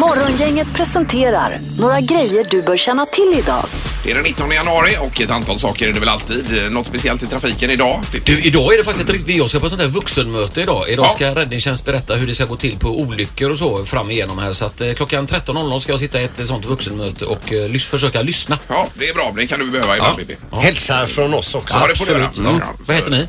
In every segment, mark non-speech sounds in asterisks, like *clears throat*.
Morgongänget presenterar några grejer du bör känna till idag. Det är den 19 januari och ett antal saker är det väl alltid. Eh, Något speciellt i trafiken idag? Du, idag är det faktiskt ett riktigt... Jag ska på ett sånt här vuxenmöte idag. Idag Ja. ska räddningstjänst berätta hur det ska gå till på olyckor och så fram igenom här. Så att eh, klockan 13.00 ska jag sitta i ett eh, sånt vuxenmöte och eh, lys- försöka lyssna. Ja, det är bra. Det kan du behöva ibland, Bibi. Hälsa från oss också. Ja, det får du göra. Mm. Ja. Vad heter ni?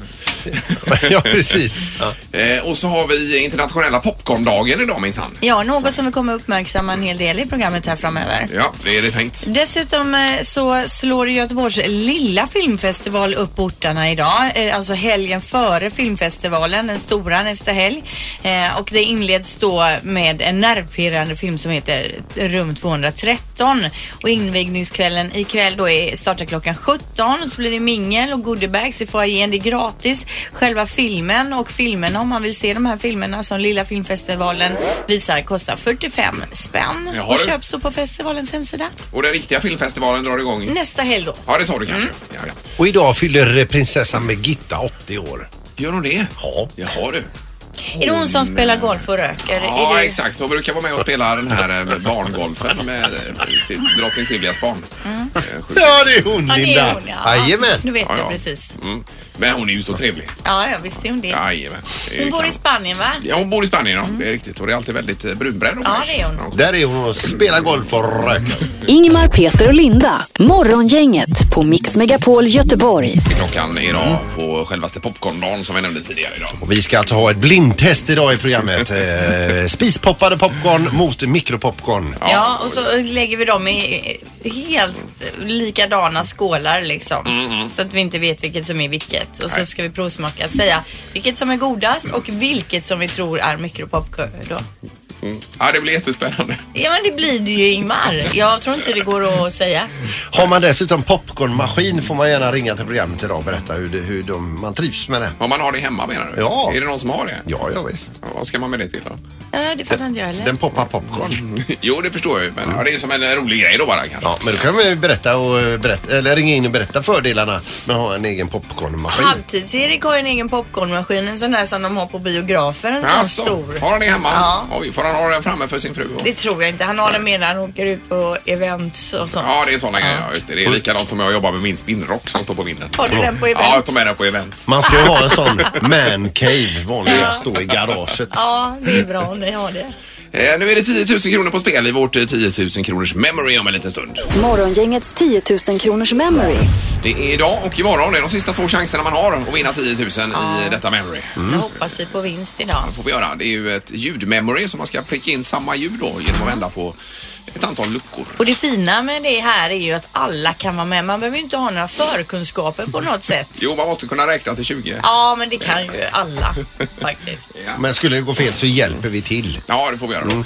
ja, precis. Eh, och så har vi internationella popcorndagen idag minsann. Ja, något som vi kommer uppmärksamma en hel del i programmet här framöver. Ja, det är det tänkt. Dessutom eh, så slår Göteborgs lilla filmfestival upp ortarna idag, eh, alltså helgen före filmfestivalen, den stora nästa helg. Eh, Och det inleds då med en nervpirrande film som heter Rum 213. Och invigningskvällen ikväll då är, startar klockan 17 och så blir det mingel och goodiebags i foajén. Det är gratis. Själva filmen och filmerna om man vill se de här filmerna som lilla filmfestivalen visar kostar 45 spänn. Jaha, och du. köps då på festivalens hemsida. Och den riktiga filmfestivalen drar igång. Nästa helg då. Ja, det sa du kanske. Mm. Ja, ja. Och idag fyller prinsessan Birgitta 80 år. Gör hon det? Ja. Jaha du. Är det hon som spelar golf och röker? är Ja, det... exakt. Hon brukar vara med och spela den här eh, barngolfen med eh, till drottning Silvias barn. Mm. Eh, sjukt. Ja, det är hon, Ja, det är hon ja. Jajamän. Nu vet Ja, ja. jag precis. Mm. Men hon är ju så trevlig. Ja, ja visst är hon det. Jajamän. Det är Hon ju bor i kanon. Spanien va? Ja, hon bor i Spanien, ja. Det är riktigt. Och det är alltid väldigt eh, brunbränd och Ja, fräsch. det är hon. Där är hon och spelar golf och röker. Ingmar, Peter och Linda. Morgongänget på Mix Megapol Göteborg. Klockan idag på självaste popcorndagen som vi nämnde tidigare idag. Och vi ska alltså ha ett blindtest idag i programmet. Eh, Spispoppade popcorn mot mikropopcorn. Ja, och så lägger vi dem i helt likadana skålar liksom. Så att vi inte vet vilket som är vilket. Och så ska vi provsmaka, säga vilket som är godast och vilket som vi tror är mikropopcorn då. Ja, det blir jättespännande. Ja men det blir det ju Ingmar. Jag tror inte det går att säga. Har man dessutom popcornmaskin får man gärna ringa till programmet idag och berätta hur, det, hur de, man trivs med det. Om man har det hemma menar du? Ja. Är det någon som har det? Ja, ja visst. Ja, Vad ska man med det till då? Äh, det fattar inte jag heller. Den poppar popcorn. Mm. Jo, det förstår jag ju. Men ja, det är som en eh, rolig grej då bara kanske. Ja, men då kan vi berätta och eh, berätta, eller ringa in och berätta fördelarna med att ha en egen popcornmaskin. Halvtids-Erik har ju en egen popcornmaskin, en sån där som de har på biografer, en sån Alltså, stor. Har han det hemma? Ja. Oj, får han ha den framme för sin fru? Och... Det tror jag inte. Han har den med när han åker ut på events och sånt. Ja, det är sådana grejer. Ja, just det. det är likadant som jag jobbar med min spinnrock som står på vinden. Har du den på Ja, jag event? tar med den på events. Man ska ju ha en sån man cave vanliga, stå i garaget. Ja, det är bra om ni har det. Eh, nu är det 10 000 kronor på spel i vårt eh, 10 000 kronors memory om en liten stund. Morgongängets 10 000 kronors memory. Det är idag och imorgon. Det är de sista två chanserna man har att vinna 10 000 i detta memory. Nu hoppas vi på vinst idag. får vi göra. Det är ju ett ljudmemory som man ska pricka in samma ljud då genom att vända på ett antal luckor. Och det fina med det här är ju att alla kan vara med. Man behöver ju inte ha några förkunskaper på något sätt. Jo, man måste kunna räkna till 20. Ja, men det kan ju alla faktiskt. Men skulle det gå fel så hjälper vi till. Ja, det får vi göra då.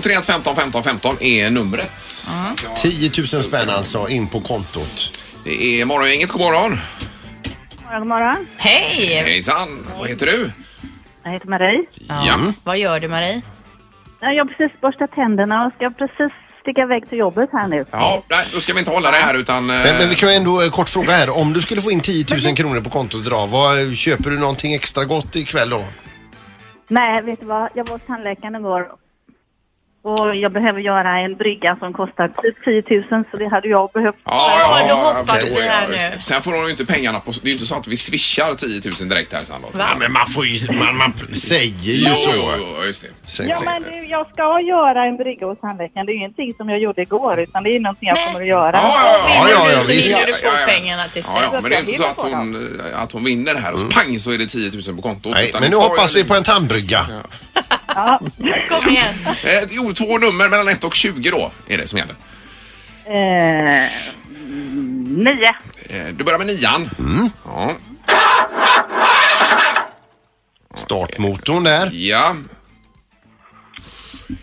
031 15 15 15 är numret. 10 000 spänn alltså in på kontot. Det är morgongänget. God morgon! God morgon. Hej! Hejsan! Vad heter du? Jag heter Marie. Ja. Vad gör du Marie? Jag har precis borstat tänderna och ska precis sticka iväg till jobbet här nu. Ja, nej, då ska vi inte hålla det här utan... Men, men vi kan ju ändå eh, kort fråga här. Om du skulle få in 10 000 kronor på kontot idag, vad, eh, köper du någonting extra gott ikväll då? Nej, vet du vad? Jag var hos tandläkaren igår och jag behöver göra en brygga som kostar typ 10 000 så det hade jag behövt. Ja, då hoppas okej, vi här ja, just nu. det. Sen får hon ju inte pengarna på... Det är ju inte så att vi swishar 10 000 direkt här sen då. Va? men man får ju, man, man säger Jo, jo, jo, just det. Säg- Ja, men du, jag ska göra en brygga hos tandläkaren. Det är ju ingenting som jag gjorde igår utan det är någonting jag Men- kommer att göra. ja, ja, ja, du så visst. vinner du få Ja, ja, ja. pengarna till Ja, stress. ja, men det är inte så att på dem. hon, eh, att hon vinner det här och så pang så är det 10 000 på kontot. Mm. Nej, utan men nu det tar hoppas ju- vi på en tandbrygga. Ja. Kom igen. Eh, jo, två nummer mellan 1 och 20 då är det som gäller. Eh, nio. Eh, du börjar med nian. Mm. Ja. Startmotorn där. ja.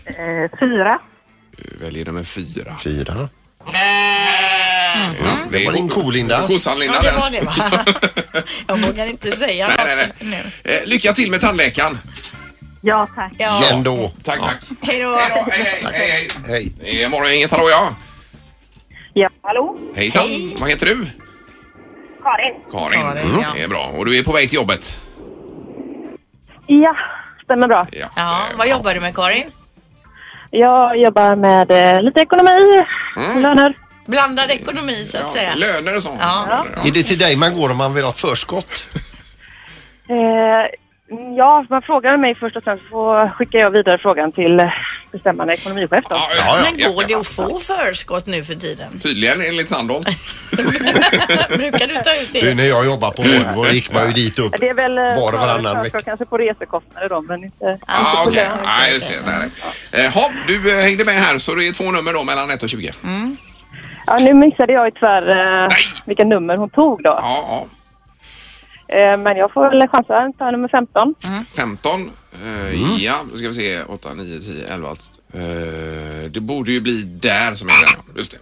Eh, fyra. väljer nummer fyra. Fyra. Ja, det Var Mm. det en ko, Linda? Kossan Linda Ja, det den. var det va? *laughs* Jag vågar inte säga Nej, något nej, nej. nu. Eh, lycka till med tandläkaren. Ja, tack. Ja. Ja. Ändå. Tack, tack. Hej då. Hej då, hej, hej, hej, Hej. hej. Det är morgon, inget hallå ja. Ja, hallå? Hejsan, vad heter du? Karin? Karin. Karin, Mm. ja. Det är bra. Och du är på väg till jobbet? Ja, stämmer bra. Ja. Ja, Eh, vad jobbar du med Karin? Jag jobbar med eh, lite ekonomi, löner. Blandad ekonomi så att Ja, säga. löner och sånt. Ja. Är det till dig man går om man vill ha ett förskott? Eh, ja, man frågar mig först och sen så skickar jag vidare frågan till eh, bestämmande ekonomichef då. Ja, Ja, ja. Men går det att få förskott nu för tiden? Tydligen enligt Sandholt. Brukar du ta ut Du, det? när jag jobbade på Mm. Volvo gick man ju dit upp Det är väl eh, var och snarare varannan förskott vecka. och kanske på resekostnader då, men inte... Ah, Ja, inte på Ah, okej. lön. Nej, just det. Nej, nej. Eh, hopp, du eh, hängde med här så det är två nummer då mellan 1 och 20. Mm. Ja, nu missade jag ju tyvärr eh, vilka nummer hon tog då. Ja, Eh, men jag får väl chansa att ta nummer 15. Mm, ja. 15. Eh, Ja, då ska vi se. 8, 9, 10, 11. Eh, det borde ju bli där som är den. Just det.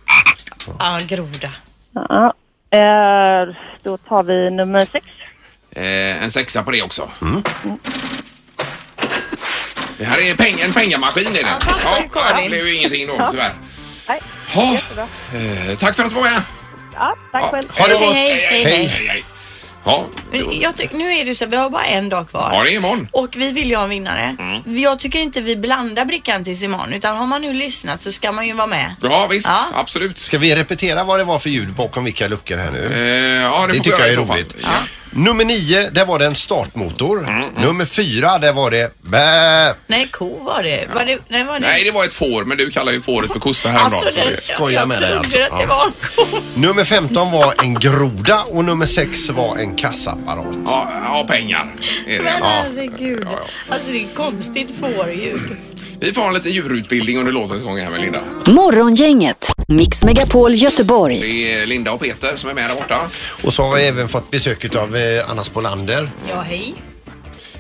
Ja, groda. Ja. Eh, då tar vi nummer 6. Eh, en sexa på det också. Det här är peng, en pengamaskin. Är det. Ja, passar ju Karin. det blev ju ingenting då tyvärr. Nej, Ha, jättebra. eh, tack för att du var med. Ja, tack Ja. själv. Ha det gott! Hej, hej, hej. hej, hej. Ja, Men Jag tyck, nu är det ju så att vi har bara en dag kvar. ja, det är imorgon. Och vi vill ju ha en vinnare. Mm. Jag tycker inte vi blandar brickan tills imorgon utan har man nu lyssnat så ska man ju vara med. Bra, visst. Ja. Absolut. Ska vi repetera vad det var för ljud bakom vilka luckor här Eh, nu? ja, det, får Det vi tycker göra jag i är så fall. roligt. Ja. Mm, Nummer nio, där var det en startmotor. Nummer fyra, där var det bä. Nej, ko var det. Var det nej, var det? Nej, det var ett får, men du kallar ju fåret för kossa häromdagen. alltså, så den, det- skojar jag med dig, trodde alltså. att det Ja. var en ko. Nummer 15 var en groda och nummer sex var en kassaapparat. Ja, ja, pengar. Är det. Men eh, Ja. herregud. Ja, Alltså det är konstigt fårljud. Vi får ha lite djurutbildning under låtsäsongen här med Linda. Morgongänget, Mix Megapol Göteborg. Det är Linda och Peter som är med där borta. Och så har vi även fått besök av eh, Anna Spolander. Ja, hej.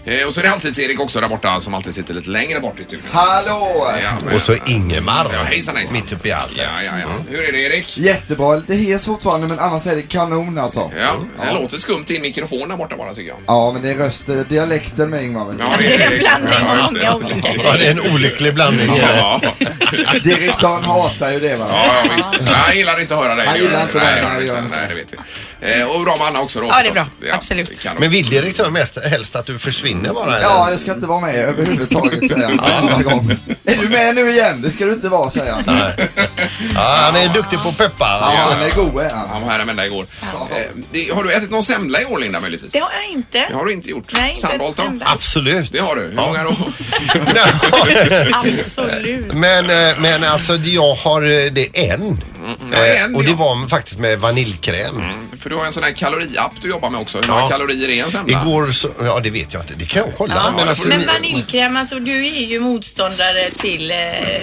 Eh, och så är det alltid Erik också där borta som alltid sitter lite längre bort i studion. Hallå! Ja, men- Och så Ingemar. Ja, hejsan, hejsan. Mitt uppe i allt. Ja, ja, ja. Hur är det Erik? Jättebra, lite hes fortfarande men annars är det kanon alltså. Ja, det låter skumt i mikrofonen där borta bara tycker jag. Ja men det är röster, dialekten med Ingmar vet du. det Det är en blandning av just det. många olika Ja, det är en olycklig blandning. Ja, ja, Direktören hatar ju det va. ja, visst. Nej, jag gillar inte att höra dig. Jag gillar inte nej, dig, jag jag vet gör inte. inte. Nej, det vet vi. Eh, Och bra med Anna också då. Ja, det är förstås. bra. Absolut. kanon. Men vill direktören mest, helst att du försvinner bara? eller? Ja, jag ska inte vara med överhuvudtaget säger han varenda gång. Är du med nu igen? Det ska du inte vara säger han. Nej. Ja, han är duktig på att peppa. Ja, han är god är han. Han var här en vända igår. Eh, det- Har du ätit någon semla i år Linda möjligtvis? Det har jag inte. Det har du inte gjort. Nej, inte Sandholt då? en enda. Absolut. Det har du. Hur många då? Absolut. *laughs* Men, eh, men alltså jag har eh, det en. Mm. ja, Eh, en, Och det ja. var faktiskt med vaniljkräm. För du har en sån här kaloriapp du jobbar med också. Hur många Ja. kalorier är en semla? Igår så, ja det vet jag inte, det kan jag kolla. Ja, men alltså, Men ni- vaniljkräm, alltså du är ju motståndare till eh,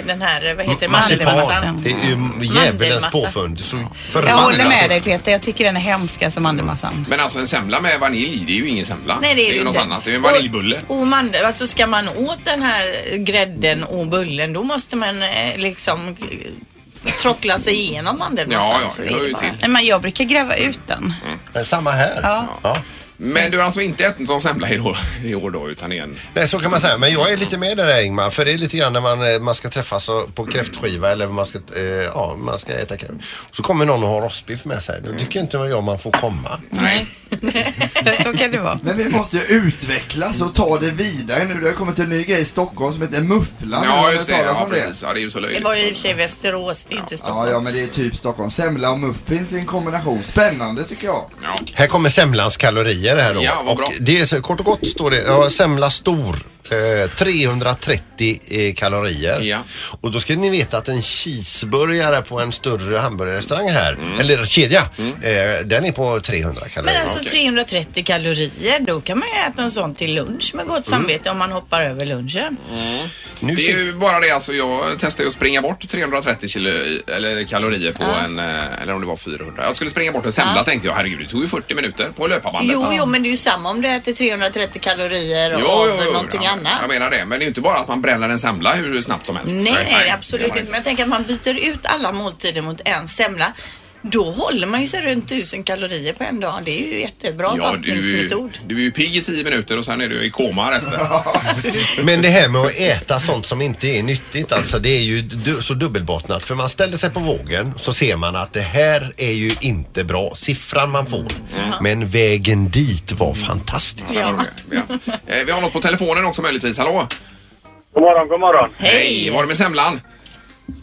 den här, eh, vad heter det, marsipan. mandelmassan. Det är ju djävulens Mandelmassa. påfund. Så Jag förbannat, håller med alltså. dig Peter, jag tycker den är hemsk alltså mandelmassan. Men alltså en semla med vanilj, det är ju ingen semla. Nej det är, ju ju något inte. annat. Det är ju en vaniljbulle. Och, och mandel, alltså ska man åt den här grädden och bullen då måste man eh, liksom eh, trockla sig igenom mandelmassan. Ja, ja, Så det är hör ju bara- Mm. till. Nej, men jag brukar gräva ut den. Men Eh, samma här. Ja. Ja. Men du har alltså inte ätit någon semla i år, i år då, utan igen. Nej, så kan man säga. Men jag är lite med där Ingmar. För det är lite grann när man, eh, man ska träffas och- på kräftskiva eller man ska, eh, ja, man ska äta kräft. Så kommer någon och har rostbiff med sig. Då tycker inte jag man får komma. Nej. Så kan det vara. Men vi måste ju utvecklas och ta det vidare nu. Det har kommit en ny grej i Stockholm som heter mufflan. Har Ja, ni just det. hört talas Ja, om precis. Ja, det är ju så *laughs* Det löjligt. var ju i och för sig Västerås, det är ju inte Ja, Stockholm. ja, men det är typ Stockholm. Semla och muffins i en kombination. Spännande tycker jag. Ja. Här kommer semlans kalorier här då. Ja, vad bra. Och det är så, kort och gott står det, ja, semla stor. Eh, 330 eh, kalorier. Ja. Och då ska ni veta att en cheeseburgare på en större hamburgerrestaurang här, eller kedja, Mm. eh, den är på 300 Men kalorier. alltså 330 kalorier, då kan man ju äta en sån till lunch med Mm. gott samvete om man hoppar över lunchen. Nu Det ser- är ju bara det alltså, jag testade ju att springa bort 330 kilo, eller kalorier på en, eh, eller om det var 400. Jag skulle springa bort en semla tänkte jag, herregud det tog ju 40 minuter på löparbandet. Jo, jo, men det är ju samma om du äter 330 kalorier och Jo, av jo, jo, någonting ja, annat. Jag menar det. Men det är ju inte bara att man bränner en semla hur snabbt som helst. Nej, nej, absolut inte. Men jag tänker att man byter ut alla måltider mot en semla. Då håller man ju sig runt tusen kalorier på en dag. Det är ju jättebra Ja, du, är ju- bantningsmetod. du är ju pigg i tio minuter och sen är du i koma resten. Men det här med att äta sånt som inte är nyttigt alltså det är ju du- så dubbelbottnat för man ställer sig på vågen så ser man att det här är ju inte bra. Siffran man får. Men vägen dit var fantastisk. Mm. Ja. Eh, Vi har något på telefonen också möjligtvis. Hallå? God morgon, god morgon. Hej! Var det med semlan?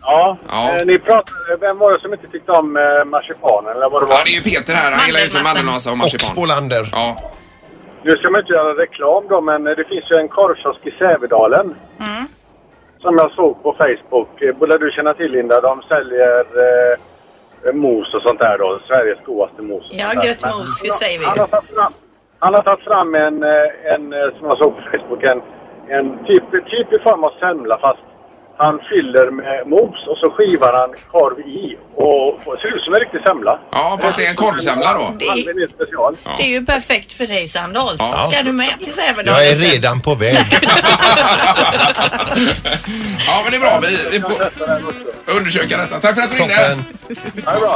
Ja, Ja. eh, ni pratade, vem var det som inte tyckte om eh, marsipan eller vad det var? Ja, det är ju Peter här. Han gillar ju inte mandelmassa och marsipan. Och Spolander. Ja. Nu ska man inte göra reklam då, men eh, det finns ju en korvkiosk i Sävedalen. Som jag såg på Facebook. Eh, Borde du känna till Linda? De säljer eh, mos och sånt där då. Sveriges godaste mos. och sånt Ja, där. gött Men mos, han det har- säger vi Han har tagit fram, han har tagit fram en, eh, en, eh, som jag såg på Facebook, en, en typ, typ i form av semla fast han fyller med mos och så skivar han korv i. Och, och ser ut som en riktig semla. Ja, fast det är en korvsemla då. Det är special. Det är ju perfekt för dig Sandholt. Ja. Ska du med till Sävedalen? Jag är redan *laughs* på väg. Ja, men det är bra. Vi, vi får undersöka detta. Tack för att du ringde.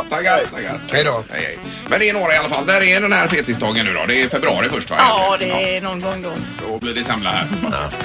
Tackar, tackar. Hej då. Hej, hej. Men det är några i alla fall. Där är den här fetisdagen nu då. Det är februari först va? Ja, det är någon gång då. Då blir det semla här.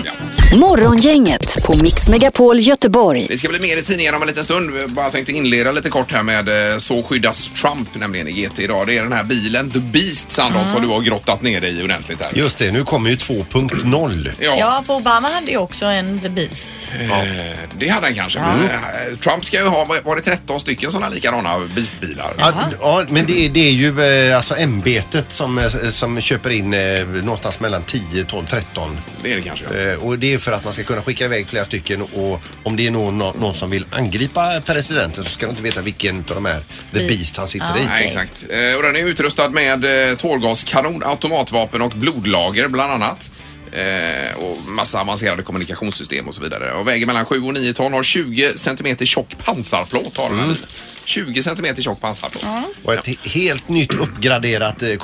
Ja. Morgongänget på Mix Megapol Göteborg. Det ska bli mer i tidningarna om en liten stund. Jag bara tänkte inleda lite kort här med eh, Så skyddas Trump, nämligen i GT idag. Det är den här bilen, The Beast Sandholt, som du har grottat ner dig i ordentligt här. Just det, nu kommer ju 2.0. Ja. Ja, för Obama hade ju också en The Beast. Eh, Det hade han kanske. Men, eh, Trump ska ju ha, var det 13 stycken sådana likadana Beast-bilar? Ja, ja, men det, är- det är ju eh, alltså ämbetet som, eh, som köper in eh, någonstans mellan 10, 12, 13. Det är det kanske. Eh, och det är för att man ska kunna skicka iväg flera stycken och om det är någon, någon, någon som vill angripa presidenten så ska de inte veta vilken av de här The Beast han sitter i. Nej, exakt. Eh, Och den är utrustad med eh, tårgaskanon, automatvapen och blodlager bland annat. Eh, och massa avancerade kommunikationssystem och så vidare. Och väger mellan 7 och 9 ton, har 20 centimeter tjock pansarplåt har den här bilen. 20 centimeter tjock pansarplåt. Och ett he- helt nytt uppgraderat eh,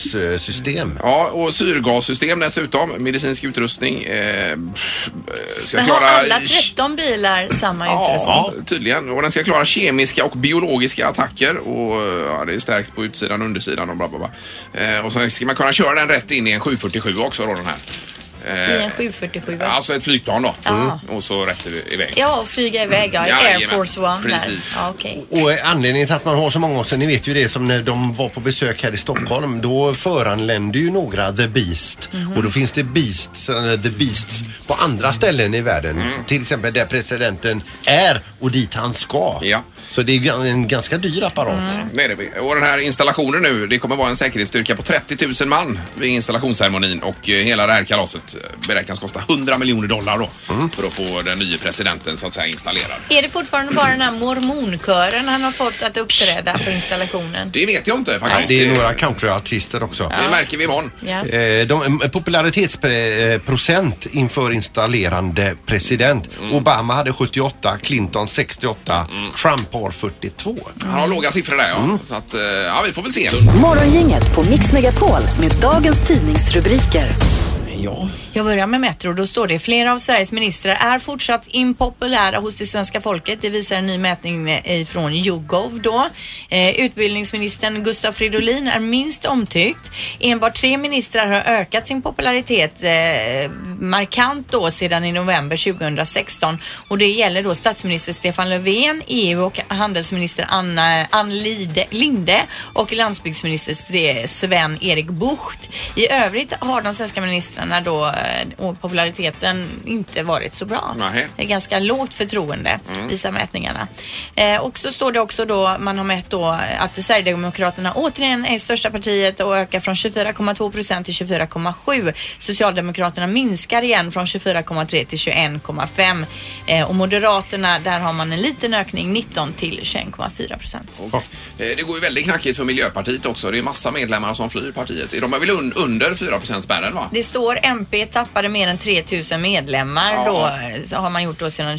kommunikationssystem. Ja, och syrgassystem dessutom, medicinsk utrustning. Eh, ska Men har klara... alla 13 bilar samma utrustning? Ja, tydligen. Och den ska klara kemiska och biologiska attacker. Och eh, ja, det är stärkt på utsidan och undersidan och bla bla bla. Eh, och sen ska man kunna köra den rätt in i en 747 också då den här. I Eh, en 747. alltså ett flygplan då. Ja. Och så rätt i- iväg. Ja, och flyga iväg. Ja, Jajamän, Air Force One precis. där. Ja, okej. Och eh, anledningen till att man har så många också, ni vet ju det som när de var på besök här i Stockholm, då föranlände ju några The Beast. Och då finns det Beasts, eh, The Beasts på andra ställen i världen. Till exempel där presidenten är och dit han ska. Så det är ju en ganska dyr apparat. Det är det. Och den här installationen nu, det kommer vara en säkerhetsstyrka på 30 000 man vid installationsceremonin och eh, hela det här kalaset eh, beräknas kosta 100 miljoner dollar då Mm. för att få den nya presidenten så att säga installerad. Är det fortfarande bara den här mormonkören han har fått att uppträda på installationen? Det vet jag inte Ja, faktiskt. det är några countryartister också. Det märker vi imorgon. Ja. Eh, De, eh, popularitetsprocent inför installerande president. Obama hade 78, Clinton 68, Trump har 42. Han har låga siffror där ja. Så att, eh, ja vi får väl se. Morgongänget på Mix Megapol med dagens tidningsrubriker. Jag börjar med Metro. Då står det flera av Sveriges ministrar är fortsatt impopulära hos det svenska folket. Det visar en ny mätning eh, från YouGov då. Eh, utbildningsministern Gustav Fridolin är minst omtyckt. Enbart tre ministrar har ökat sin popularitet eh, markant då sedan i november 2016 och det gäller då statsminister Stefan Löfven, EU och handelsminister Anna, Ann Lide, Linde och landsbygdsminister Ste- Sven-Erik Bucht. I övrigt har de svenska ministrarna då eh, och populariteten inte varit så bra. Nej. Det är ganska lågt förtroende Mm. visar mätningarna. Eh, och så står det också då, man har mätt då att Sverigedemokraterna återigen är största partiet och ökar från 24,2 procent till 24,7. Socialdemokraterna minskar igen från 24,3 till 21,5. Eh, och Moderaterna, där har man en liten ökning 19 till 21,4 procent. Och, eh, Det går ju väldigt knackigt för Miljöpartiet också. Det är massa medlemmar som flyr partiet. De är väl un under 4 spärren va? Det står år. MP tappade mer än 3000 medlemmar Ja. då. eh, så Har man gjort då sedan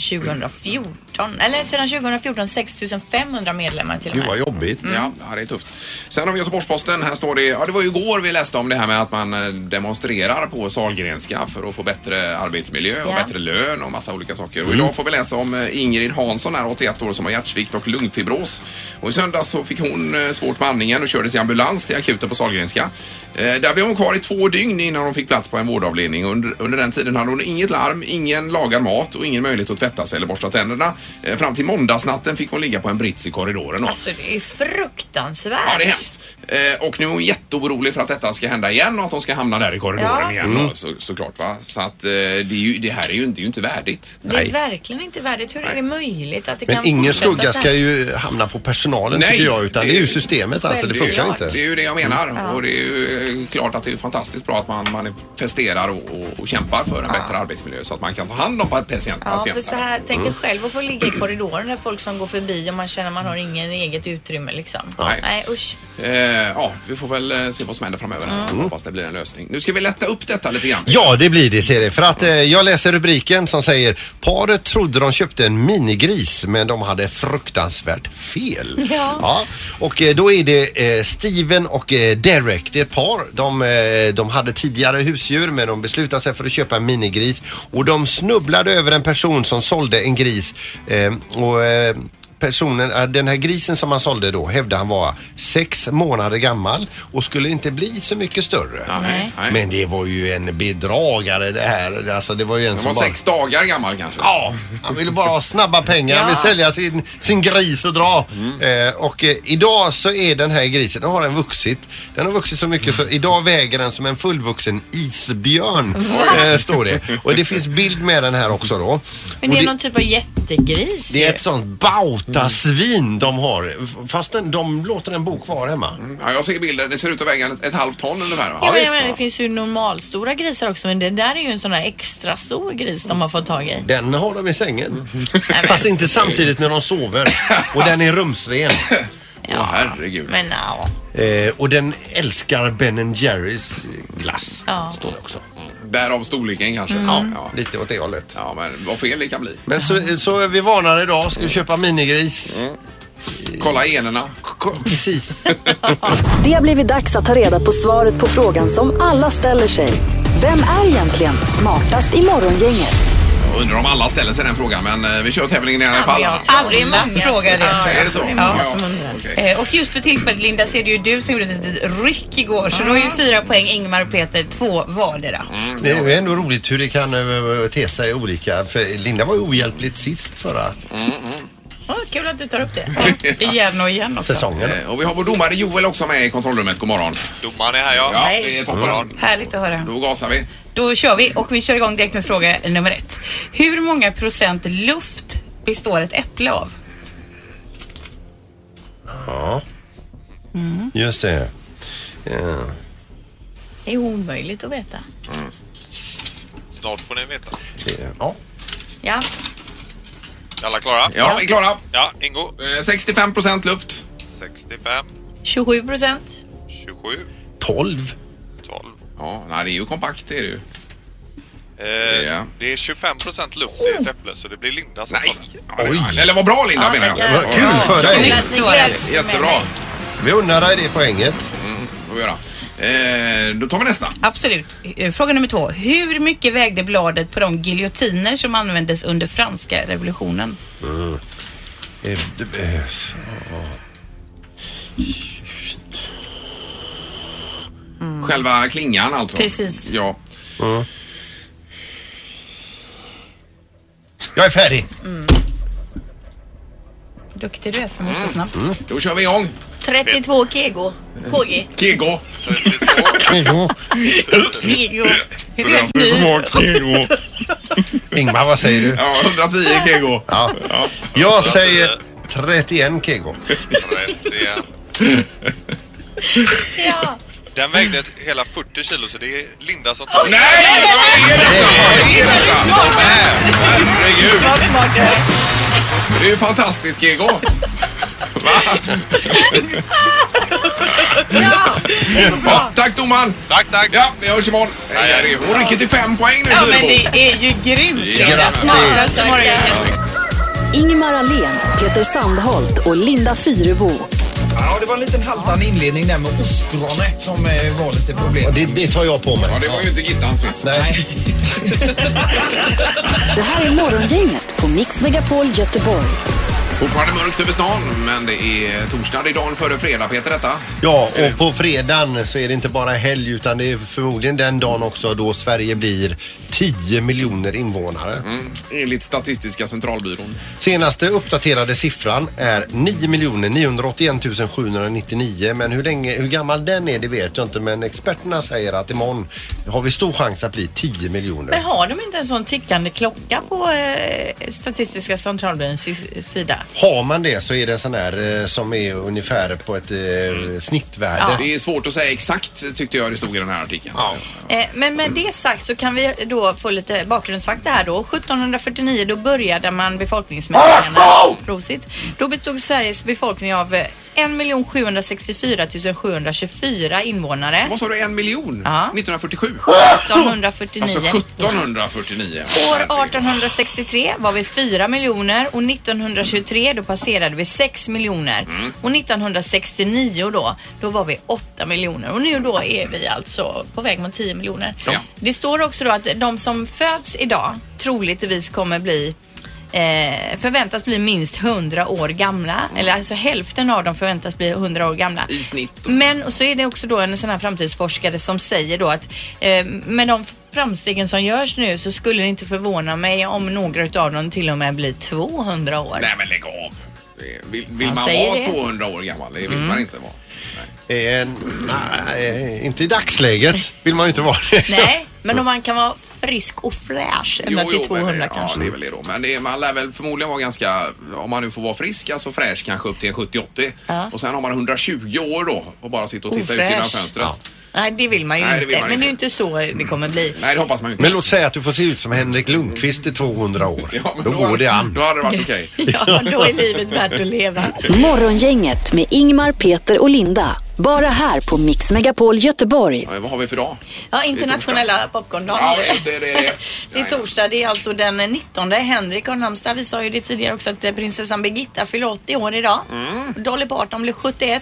2014. Eller sedan 2014 6500 medlemmar till och Gud med. vad jobbigt. Mm. Ja, ja, det är tufft. Sen har vi Göteborgs-Posten. Här står det, ja det var ju igår vi läste om det här med att man eh, demonstrerar på Sahlgrenska för att få bättre arbetsmiljö och Ja. bättre lön och massa olika saker. Och idag får vi läsa om eh, Ingrid Hansson här, 81 år, som har hjärtsvikt och lungfibros. Och i söndags så fick hon eh, svårt med andningen och kördes i ambulans till akuten på Sahlgrenska. Eh, Där blev hon kvar i två dygn innan hon fick plats på en vårdavdelning. Under, under den tiden hade hon inget larm, ingen lagad mat och ingen möjlighet att tvätta sig eller borsta tänderna. Eh, Fram till måndagsnatten fick hon ligga på en brits i korridoren. då. Alltså det är ju fruktansvärt. Ja, det är hemskt. Eh, och nu är hon jätteorolig för att detta ska hända igen och att hon ska hamna där i korridoren Ja. igen Mm. då, så, såklart. Va? Så att eh, det, är ju, det här är ju inte, det är ju inte värdigt. Det är verkligen inte värdigt. Hur är det möjligt att det Men kan ingen fortsätta skugga så ska här? ju hamna på personalen Nej, tycker jag utan det är ju systemet alltså. Det funkar Självklart. inte. Det är ju det jag menar. Mm. Ja. Och det är ju eh, klart att det är fantastiskt bra att man manifesterar och, och, och kämpar för en bättre arbetsmiljö så att man kan ta hand om patient, Ja, för så här, tänk dig Mm. själv att få ligga i korridoren där folk som går förbi och man känner man har ingen eget utrymme liksom. Nej. Nej usch. Eh, ja, vi får väl eh, se vad som händer framöver. här. Mm. Hoppas det blir en lösning. Nu ska vi lätta upp detta lite grann. Ja, det blir det ser det. För att eh, jag läser rubriken som säger Paret trodde de köpte en minigris men de hade fruktansvärt fel. Ja. Och eh, då är det eh, Steven och eh, Derek, det är ett par. De, eh, de hade tidigare husdjur men de beslutade sig för att köpa en minigris och de snubblade över en person som sålde en gris eh, och eh, Personen, eh, den här grisen som han sålde då hävdade han var sex månader gammal och skulle inte bli så mycket större. Nej. Men det var ju en bedragare det här. Alltså det var ju en Den som var bara... sex dagar gammal kanske. Ja, han ville bara ha snabba pengar. Han vill Ja. sälja sin, sin gris och dra. Mm. Eh, och eh, idag så är den här grisen, den har den vuxit. Den har vuxit så mycket Mm. så idag väger den som en fullvuxen isbjörn. Eh, står det. Och det finns bild med den här också då. Men Och det är det- någon typ av jättegris det är ju. ett sånt bautasvin de har. Fastän de låter den bo kvar hemma. Ja, jag ser bilden. Det ser ut att väga ett, ett halvt ton ungefär. va? Ja, men jag menar, det finns ju normalstora grisar också men det där är ju en sån här extra stor gris de har fått tag i. Den har de i sängen. Mm. Fast inte samtidigt när de sover. Och den är rumsren. Åh herregud. Men ja. Eh, och den älskar Ben Jerrys glass. Ja. Står det också. Mm. Därav storleken kanske. Mm. ja. Lite åt det hållet. Ja, men vad fel det kan bli. Men så, så är vi varnar idag. Ska vi köpa minigris? Kolla generna. Precis. Det har blivit dags att ta reda på svaret på frågan som alla ställer sig. Vem är egentligen smartast i Morgongänget? Jag undrar om alla ställer sig den frågan, men eh, vi kör tävlingen i alla fall. Aldrig många frågar det tror jag. Är det så? Ja. okej. Eh, Och just för tillfället Linda så är det ju du som gjorde ett litet ryck igår. Så du har ju fyra poäng, Ingmar och Peter, två vardera. Det är ju ändå roligt hur det kan eh, te sig olika. För Linda var ju ohjälpligt sist förra Oh, kul att du tar *laughs* upp det. igen och igen också. säsongen. Eh, Och vi har vår domare Joel också med i kontrollrummet. God morgon. Domaren är här ja. Ja, Hej. det är toppen. Mm. Härligt att höra. Då gasar vi. Då kör vi och vi kör igång direkt med fråga nummer ett. Hur många procent luft består ett äpple av? Ja. Just det. Eh, Ja. Det är omöjligt att veta. Snart får ni veta. Ja. Ja. Är alla klara? Ja, vi är klara. Ja, Ingo. Eh, 65 procent luft. 65, 27 procent. 27, 12. 12. Ja, nej, det är ju kompakt det är det ju. Eh, Det är 25 procent luft i ett äpple så det blir Linda som tar den. Oh! Oj. Eller vad bra Linda Ja, menar jag. tackar. Vad kul Ja. för dig. Gläds- gläds Jättebra. Vi undrar dig det poänget. Mm, får vi göra. Eh, då tar vi nästa. Absolut. Eh, Fråga nummer två. Hur mycket vägde bladet på de giljotiner som användes under franska revolutionen? Mm. Eh, det- eh, så. Själva klingan alltså. Precis. Ja. Jag är färdig. Duktig du är som är Mm. så snabb. Då kör vi igång. 32 kego. KG. Kego. Kego. Kego. kego. Ingmar, vad säger du? Ja, 110 kego. Ja. Jag säger 31 kego. 31. Ja. Den vägde ett- hela 40 kilo så det är Linda som tar den. Nej! Vad är detta? Vad är detta? Herregud. Vad smart du är. Det är ju fantastiskt Kego. Va? Ja, tack domaren! Tack, tack! Ja, vi hörs imorgon. Nej, det är- Hon rycker till fem poäng nu Ja, men Fyrebo. det är ju grymt. Ja, Det är grattis. smartaste morgonen. Ingemar Ahlén, Peter Sandholt och Linda Fyrebo. Ja, det var en liten haltande inledning där med ostronet som eh, var lite problem. Det, det tar jag på mig. Ja, det var ju inte Gittans fel. Nej. Det här är Morgongänget på Mix Megapol Göteborg. Fortfarande mörkt över stan, men det är torsdag. Det är dagen före fredag, Peter, detta. Ja, och på fredagen så är det inte bara helg utan det är förmodligen den dagen också då Sverige blir 10 miljoner invånare. Mm. Enligt Statistiska centralbyrån. Senaste uppdaterade siffran är 9 981 799 men hur, länge, hur gammal den är det vet jag inte men experterna säger att imorgon har vi stor chans att bli 10 miljoner. Men har de inte en sån tickande klocka på eh, Statistiska centralbyråns sy- sida? Har man det så är det en sån här eh, som är ungefär på ett eh, snittvärde. Mm. Ja. Det är svårt att säga exakt, tyckte jag det stod i den här artikeln. Eh, Men med det sagt så kan vi då få lite bakgrundsfakta här då. 1749 då började man befolkningsmätningarna. Prosit. Då bestod Sveriges befolkning av eh, 1 764 724 invånare. Vad sa du, en miljon? Ja. 1947? 1749. Alltså 1749. År 1863 var vi 4 miljoner och 1923 då passerade vi 6 miljoner. Mm. Och 1969 då, då var vi 8 miljoner. Och nu då är vi alltså på väg mot 10 miljoner. Det står också då att de som föds idag troligtvis kommer bli Eh, förväntas bli minst 100 år gamla. Eller alltså hälften av dem förväntas bli 100 år gamla. Mm. I snitt. Men och så är det också då en sån här framtidsforskare som säger då att eh, med de framstegen som görs nu så skulle det inte förvåna mig om några utav dem till och med blir 200 år. Nej, men lägg av. Det- Vill, vill Han man säger vara det. 200 år gammal? Det vill Mm. man inte vara. Eh, nej, inte i dagsläget vill man ju inte vara det. Nej, men om man kan vara frisk och fräsch ända till 200 men, det- kanske. Ja, det är väl det då. Men det är, man lär väl förmodligen vara ganska, om man nu får vara frisk, alltså fräsch kanske upp till en 70-80. Ja. Och sen har man 120 år då och bara sitta och titta ut genom Ofräsch. fönstret. Nej, det vill man ju Nej, det inte. vill man men inte. det är ju inte så det kommer bli. Nej, det hoppas man ju inte. Men låt säga att du får se ut som Henrik Lundqvist i 200 år. då, går det an. Då hade det varit okej. *laughs* Ja, då är livet värt att leva. *laughs* Morgongänget med Ingmar, Peter och Linda. Bara här på Mix Megapol Göteborg. Ja, vad har vi för dag? Ja, internationella popcorndagen. Ja, just det, det, det. *laughs* Det är torsdag, det är alltså den 19. Henrik har namnsdag. Vi sa ju det tidigare också att eh, prinsessan Birgitta fyller 80 år idag. Dolly Parton blir 71.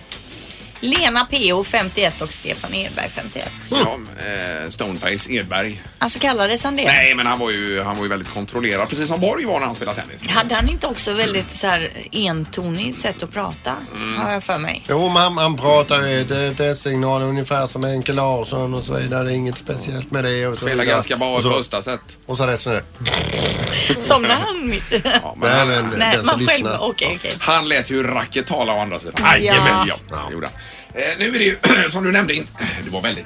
Lena P.O. 51 och Stefan Edberg 51. Ja, eh, Stoneface Edberg. Alltså kallades han det? Nej, men han var, ju, han var ju väldigt kontrollerad, precis som Borg var när han spelade tennis. Hade han inte också väldigt så här entonigt sätt att prata? Har jag för mig. Jo, mamma han pratar eh, ju ett testsignal ungefär som Henke Larsson och så vidare. Inget speciellt med det. Och så Spelade vidare. ganska bra i Och så- första set. Och så resten är Somnade han mitt i? Nej, men Nej, den som man själv, lyssnar. okej, okej. Han lät ju racket tala å andra sidan. Ja. Jajamän, ja. ja. det gjorde han. Eh, nu är det ju, *clears throat* som du nämnde, in- det var väldigt...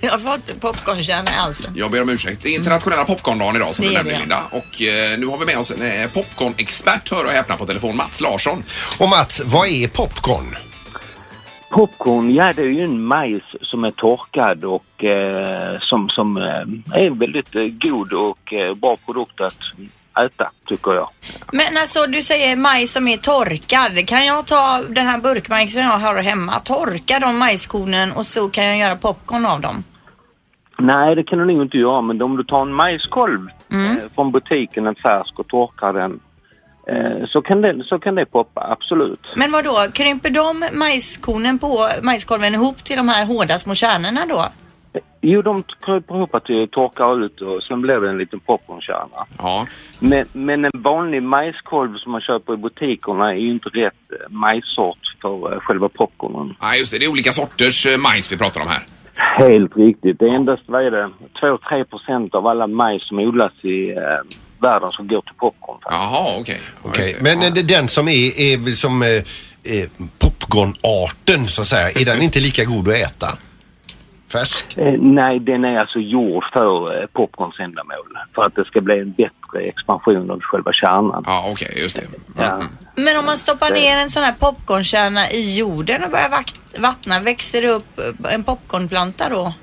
Jag har fått popcornkärna i halsen. Jag ber om ursäkt. Det är internationella popcorndagen idag som Det du är nämnde det. Linda. Och eh, nu har vi med oss en eh, popcornexpert, hör och häpna, på telefon. Mats Larsson. Och Mats, vad är popcorn? Popcorn, ja det är ju en majs som är torkad och eh, som, som eh, är en väldigt eh, god och eh, bra produkt att äta, tycker jag. Men alltså du säger majs som är torkad. Kan jag ta den här burkmajsen jag har hemma, torka de majskornen och så kan jag göra popcorn av dem? Nej, det kan du nog inte göra, men om du tar en majskolv Mm. eh, från butiken, en färsk, och torkar den eh, så, kan det, så kan det poppa, absolut. Men vad då? krymper de majskornen på majskolven ihop till de här hårda små kärnorna då? Jo, de kryper ihop att det torkar ut och sen blir det en liten popcornkärna. Ja. Men, men en vanlig majskolv som man köper i butikerna är ju inte rätt eh, majssort för eh, själva popcornen. Nej, just det. Det är olika sorters eh, majs vi pratar om här. Helt riktigt. Det är endast, vad är det, 2-3 procent av alla majs som odlas i eh, världen som går till popcorn. Jaha, okej. Okej, men är det den som är, är väl som eh, eh, popcornarten så att säga. Är den inte lika god att äta? Färsk? Eh, nej, den är alltså gjord för eh, popcorns ändamål. För att det ska bli en bättre expansion av själva kärnan. Ja, okej, just det. Ja. Men om man stoppar Det- ner en sån här popcornkärna i jorden och börjar vak- vattna, växer det upp eh, en popcornplanta då?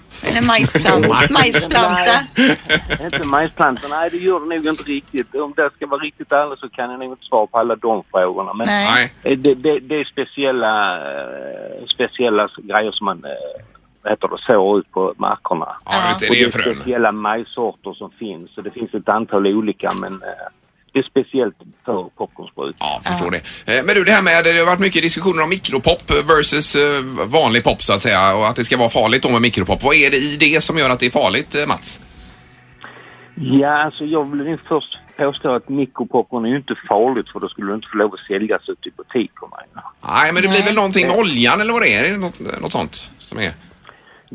*laughs* Eller majsplanta. majsplanta. Nej, inte majsplanta. Nej, det gör det nog inte riktigt. Om det ska vara riktigt ärlig så kan jag nog inte svara på alla de frågorna. Men Nej. eh, Det, det, det är speciella, eh, speciella grejer som man eh, vad heter det, sår ut på markerna. Ja, just det. Och Det är det är frön. speciella majssorter som finns. Så det finns ett antal olika, men eh, det är speciellt för popcornsbruk. Ja, förstår det. Eh, Men du, det här med, det har varit mycket diskussioner om mikropop versus eh, vanlig pop så att säga och att det ska vara farligt då med mikropop. Vad är det i det som gör att det är farligt, eh, Mats? Ja, alltså jag vill ju först påstå att mikropopcorn är ju inte farligt för då skulle det inte få lov att säljas ute i butikerna. Nej, men det blir väl någonting med Eh, oljan eller vad det är? Är det Något, eh, något sånt som är?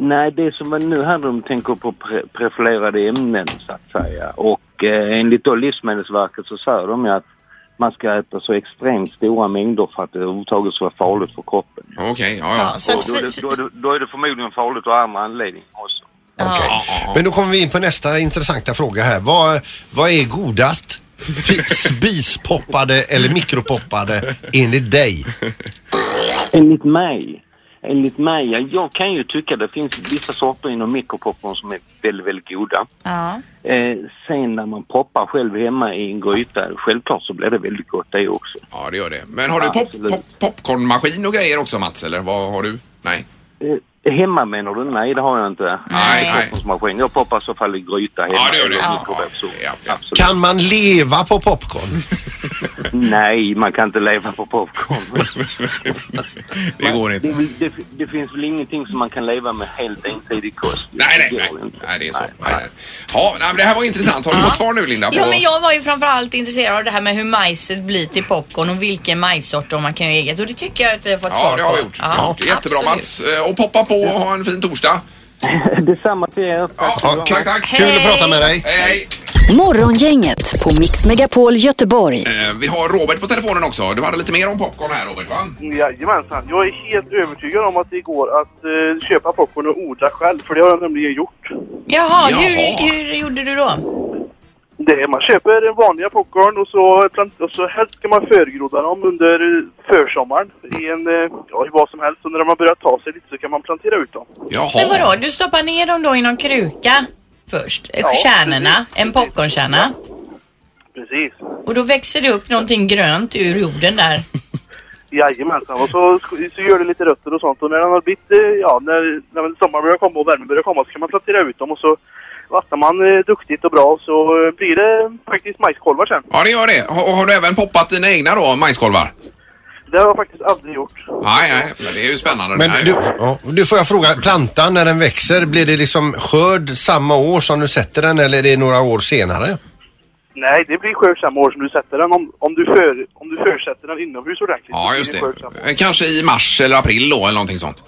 Nej, det som man nu här de tänker på pre- profilerade ämnen så att säga. Och eh, enligt då Livsmedelsverket så säger de ju att man ska äta så extremt stora mängder för att det överhuvudtaget ska vara farligt för kroppen. Okej, ja. Ja, så att då, är det- då, är det- då är det förmodligen farligt av andra anledningar också. Men då kommer vi in på nästa intressanta fråga här. Vad, vad är godast? *laughs* Spispoppade eller mikropoppade enligt dig? Enligt mig, enligt mig, ja, jag kan ju tycka det finns vissa sorter inom mikropopcorn som är väldigt, väldigt goda. Ja. Eh, sen när man poppar själv hemma i en gryta, självklart så blir det väldigt gott det också. Ja, det gör det. Men har du pop, pop, popcornmaskin och grejer också, Mats? Eller vad har du? Nej. Eh, hemma menar du? Nej, det har jag inte. Nej, nej. Popcornsmaskin. Jag poppar i så fall i gryta hemma. Ja, det gör du. eller Ja. mikrovågsugn. Absolut. Kan man leva på popcorn? Nej, man kan inte leva på popcorn. det går inte. Det, är väl- det, det finns väl ingenting som man kan leva med helt ensidig kost. Nej, nej, nej. nej det är så. Nej, nej. Ja, nej, men det här var intressant. Har du fått svar nu, Linda? Ja, men jag var ju framförallt intresserad av det här med hur majset blir till popcorn och vilken majssort om man kan göra eget. Och det tycker jag att vi har fått svar Ja, på. det har vi gjort. Ja, Det är Jättebra, absolut. Mats. Eh, Och poppa på och ha en fin torsdag. *laughs* Detsamma till er. Ja, tack, tack. Kul att prata med dig. Hej, hej. Morgongänget på Mix Megapol Göteborg. Eh, Vi har Robert på telefonen också. Du hade lite mer om popcorn här, Robert, va? Jajamensan. Jag är helt övertygad om att det går att eh, köpa popcorn och odla själv, för det har jag nämligen gjort. Jaha, Jaha. Hur, hur gjorde du då? Det är, man köper den vanliga popcorn och så, plant- och så helst ska man förgroda dem under eh, försommaren. I en, eh, ja, i vad som helst. Och när de har börjat ta sig lite så kan man plantera ut dem. Men vadå, du stoppar ner dem då i någon kruka först? Ja, Kärnorna, en popcornkärna. Precis. Och då växer det upp någonting grönt ur jorden där. *laughs* Jajamensan. Och så, så gör det lite rötter och sånt. Och när den har blivit, eh, ja, när, när sommaren börjar komma och värmen börjar komma så kan man plantera ut dem och så vattnar man eh, duktigt och bra så eh, blir det faktiskt majskolvar sen. Ja, det gör det. Ha- Och har du även poppat dina egna då, majskolvar? Det har jag faktiskt aldrig gjort. Nej, nej, men det är ju spännande. Men det här. du, ja, du får jag fråga, plantan när den växer, blir det liksom skörd samma år som du sätter den eller är det några år senare? Nej, det blir skörd samma år som du sätter den. Om, om, du, för, om du försätter den inomhus ordentligt. Ja, just blir skörd samma år. det. Eh, Kanske i mars eller april då, eller någonting sånt.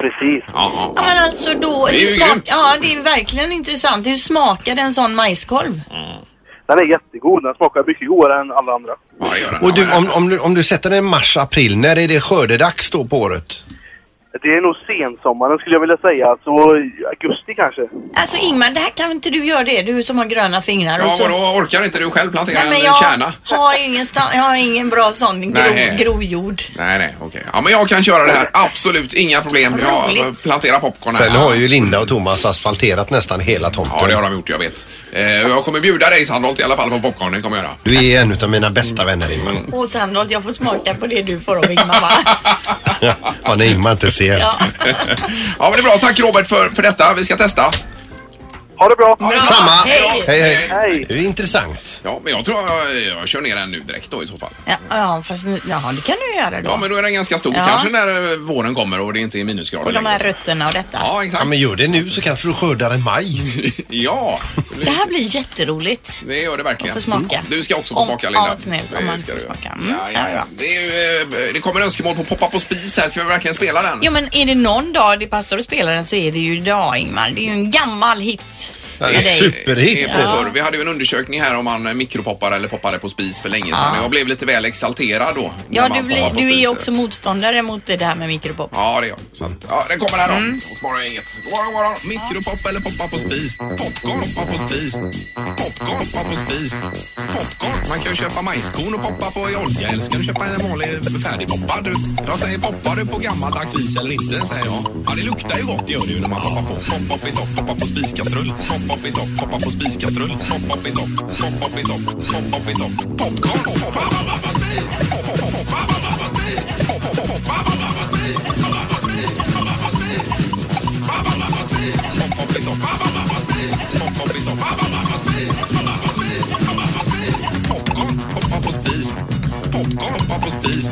Precis. Ja, ja. Ja, men alltså då... Det är ju hur smak- grymt. Ja, det är verkligen intressant. Hur smakar en sån majskolv? Den är jättegod. Den smakar mycket godare än alla andra. Och du, om, om, du, om du sätter den i mars, april, när är det skördedags då på året? Det är nog sensommaren skulle jag vilja säga. Så i augusti kanske. Alltså Ingmar, det här kan inte du göra det? Du som har gröna fingrar. Ja, och så... vadå? Orkar inte du själv plantera Nej, men en jag kärna? har ju ingen, sta- jag har ingen bra sån Nej. gro- grojord. Nej, nej, okej. Ja, men jag kan köra det här. Absolut, inga problem. Jag planterar popcorn här. Sen har ju Linda och Thomas asfalterat nästan hela tomten. Ja, det har de gjort, jag vet. Eh, jag kommer bjuda dig Sandholt i alla fall på popcorn, det kommer jag göra. Du är en av mina bästa vänner Ingmar. Och Sandholt, jag får smaka på det du får av Ingmar va? *laughs* *laughs* Vad ni Ingmar inte ser. Ja. ja, men det är bra. Tack Robert för, för detta. Vi ska testa. Ha det bra. Samma. Hej. Hej, hej. Det är intressant. Ja, men jag tror jag, jag kör ner den nu direkt då i så fall. Ja, ja fast nu, ja, det kan du göra då. Ja, men då är den ganska stor Ja. kanske när eh, våren kommer och det inte är minusgrader Och de här längre. rötterna och detta. Ja, exakt. men gör det nu så kanske du skördar i maj. *laughs* ja, Det här blir jätteroligt. det gör det verkligen. Man får smaka. Mm. Du ska också få Om- smaka Linda. ja, snällt, om Det man ska får du göra. smaka. Mm, Ja, ja, ja, ja. ja. Det, är, ju, eh, det kommer önskemål på poppa på spis här. Ska vi verkligen spela den? Jo men är det någon dag det passar att spela den så är det ju idag Ingmar. Det är ju en gammal hit. Den är superhit. Det är på förr. Vi hade ju en undersökning här om man mikropoppar eller poppade på spis för länge sedan. Ja. Jag blev lite väl exalterad då. när Ja, man du, blir, poppar på du är ju spis. också motståndare mot det här med mikropop. Ja, det är jag. Så att, ja, den kommer här då. Och spara inget. God morgon, god morgon. Mikropop eller poppa på spis? Popcorn, poppa på spis. Popcorn, poppa på spis. Popcorn. Man kan ju köpa majskorn och poppa på i olja eller så kan du köpa en vanlig färdigpoppad. Jag säger poppar du på gammaldags vis eller inte, säger jag. Ja, det luktar ju gott gör det ju när man poppar på. Pop, pop i topp, poppa på spiskastrull. Pop, pop i topp, poppa på spiskastrull. Pop, pop i topp, pop, pop i topp, pop, pop i topp. Popcorn, poppa, poppa, poppa, spis. Pop, pop, poppa, poppa, poppa, spis. Pop, pop, poppa, poppa, poppa, spis. Poppa, poppa, spis. Poppa, poppa, spis. Poppa, poppa, spis. Pop, pop i topp, poppa, poppa, spis. Pop, pop i topp, poppa, poppa, spis. Poppa, poppa, spis. Poppa, poppa, spis. Popcorn, poppa på spis. Popcorn, poppa på spis.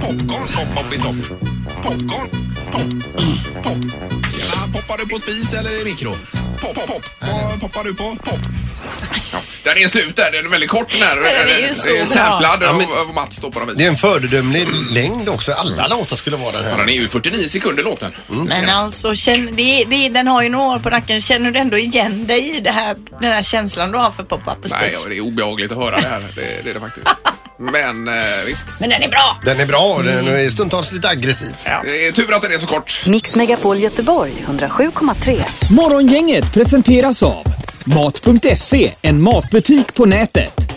Popcorn, poppa i topp. Popcorn, pop, pop. Tjena, poppar du på spis eller i mikro? Pop, pop, pop. Vad poppar du på? Pop. Ja, den är slut där. Den är väldigt kort den här. Den är ju så Det bra. samplad Ja, av men- av Mats då på något vis. Det är en föredömlig längd också. Alla låtar skulle vara den här. Ja, den är ju 49 sekunder låten. Mm, Men alltså, känn, det, är- det, är- den har ju några år på nacken. Känner du ändå igen dig i det här, den här känslan du har för pop-up och Nej, spis? det är obehagligt att höra det här. Det, det är det faktiskt. Men eh, visst. Men den är bra! Den är bra och den är stundtals lite aggressiv. Det är tur att den är så kort. Mix Megapol Göteborg 107,3. Morgongänget presenteras av Mat.se, en matbutik på nätet.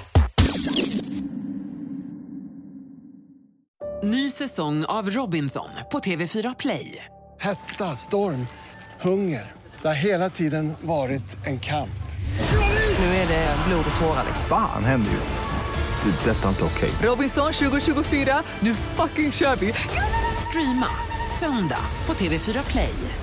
Ny säsong av Robinson på TV4 Play. Hetta, storm, hunger. Det har hela tiden varit en kamp. Nu är det blod och tårar. liksom. Fan händer just det. Det är detta inte okej. Robinson 2024, nu fucking kör vi! Streama söndag på TV4 Play.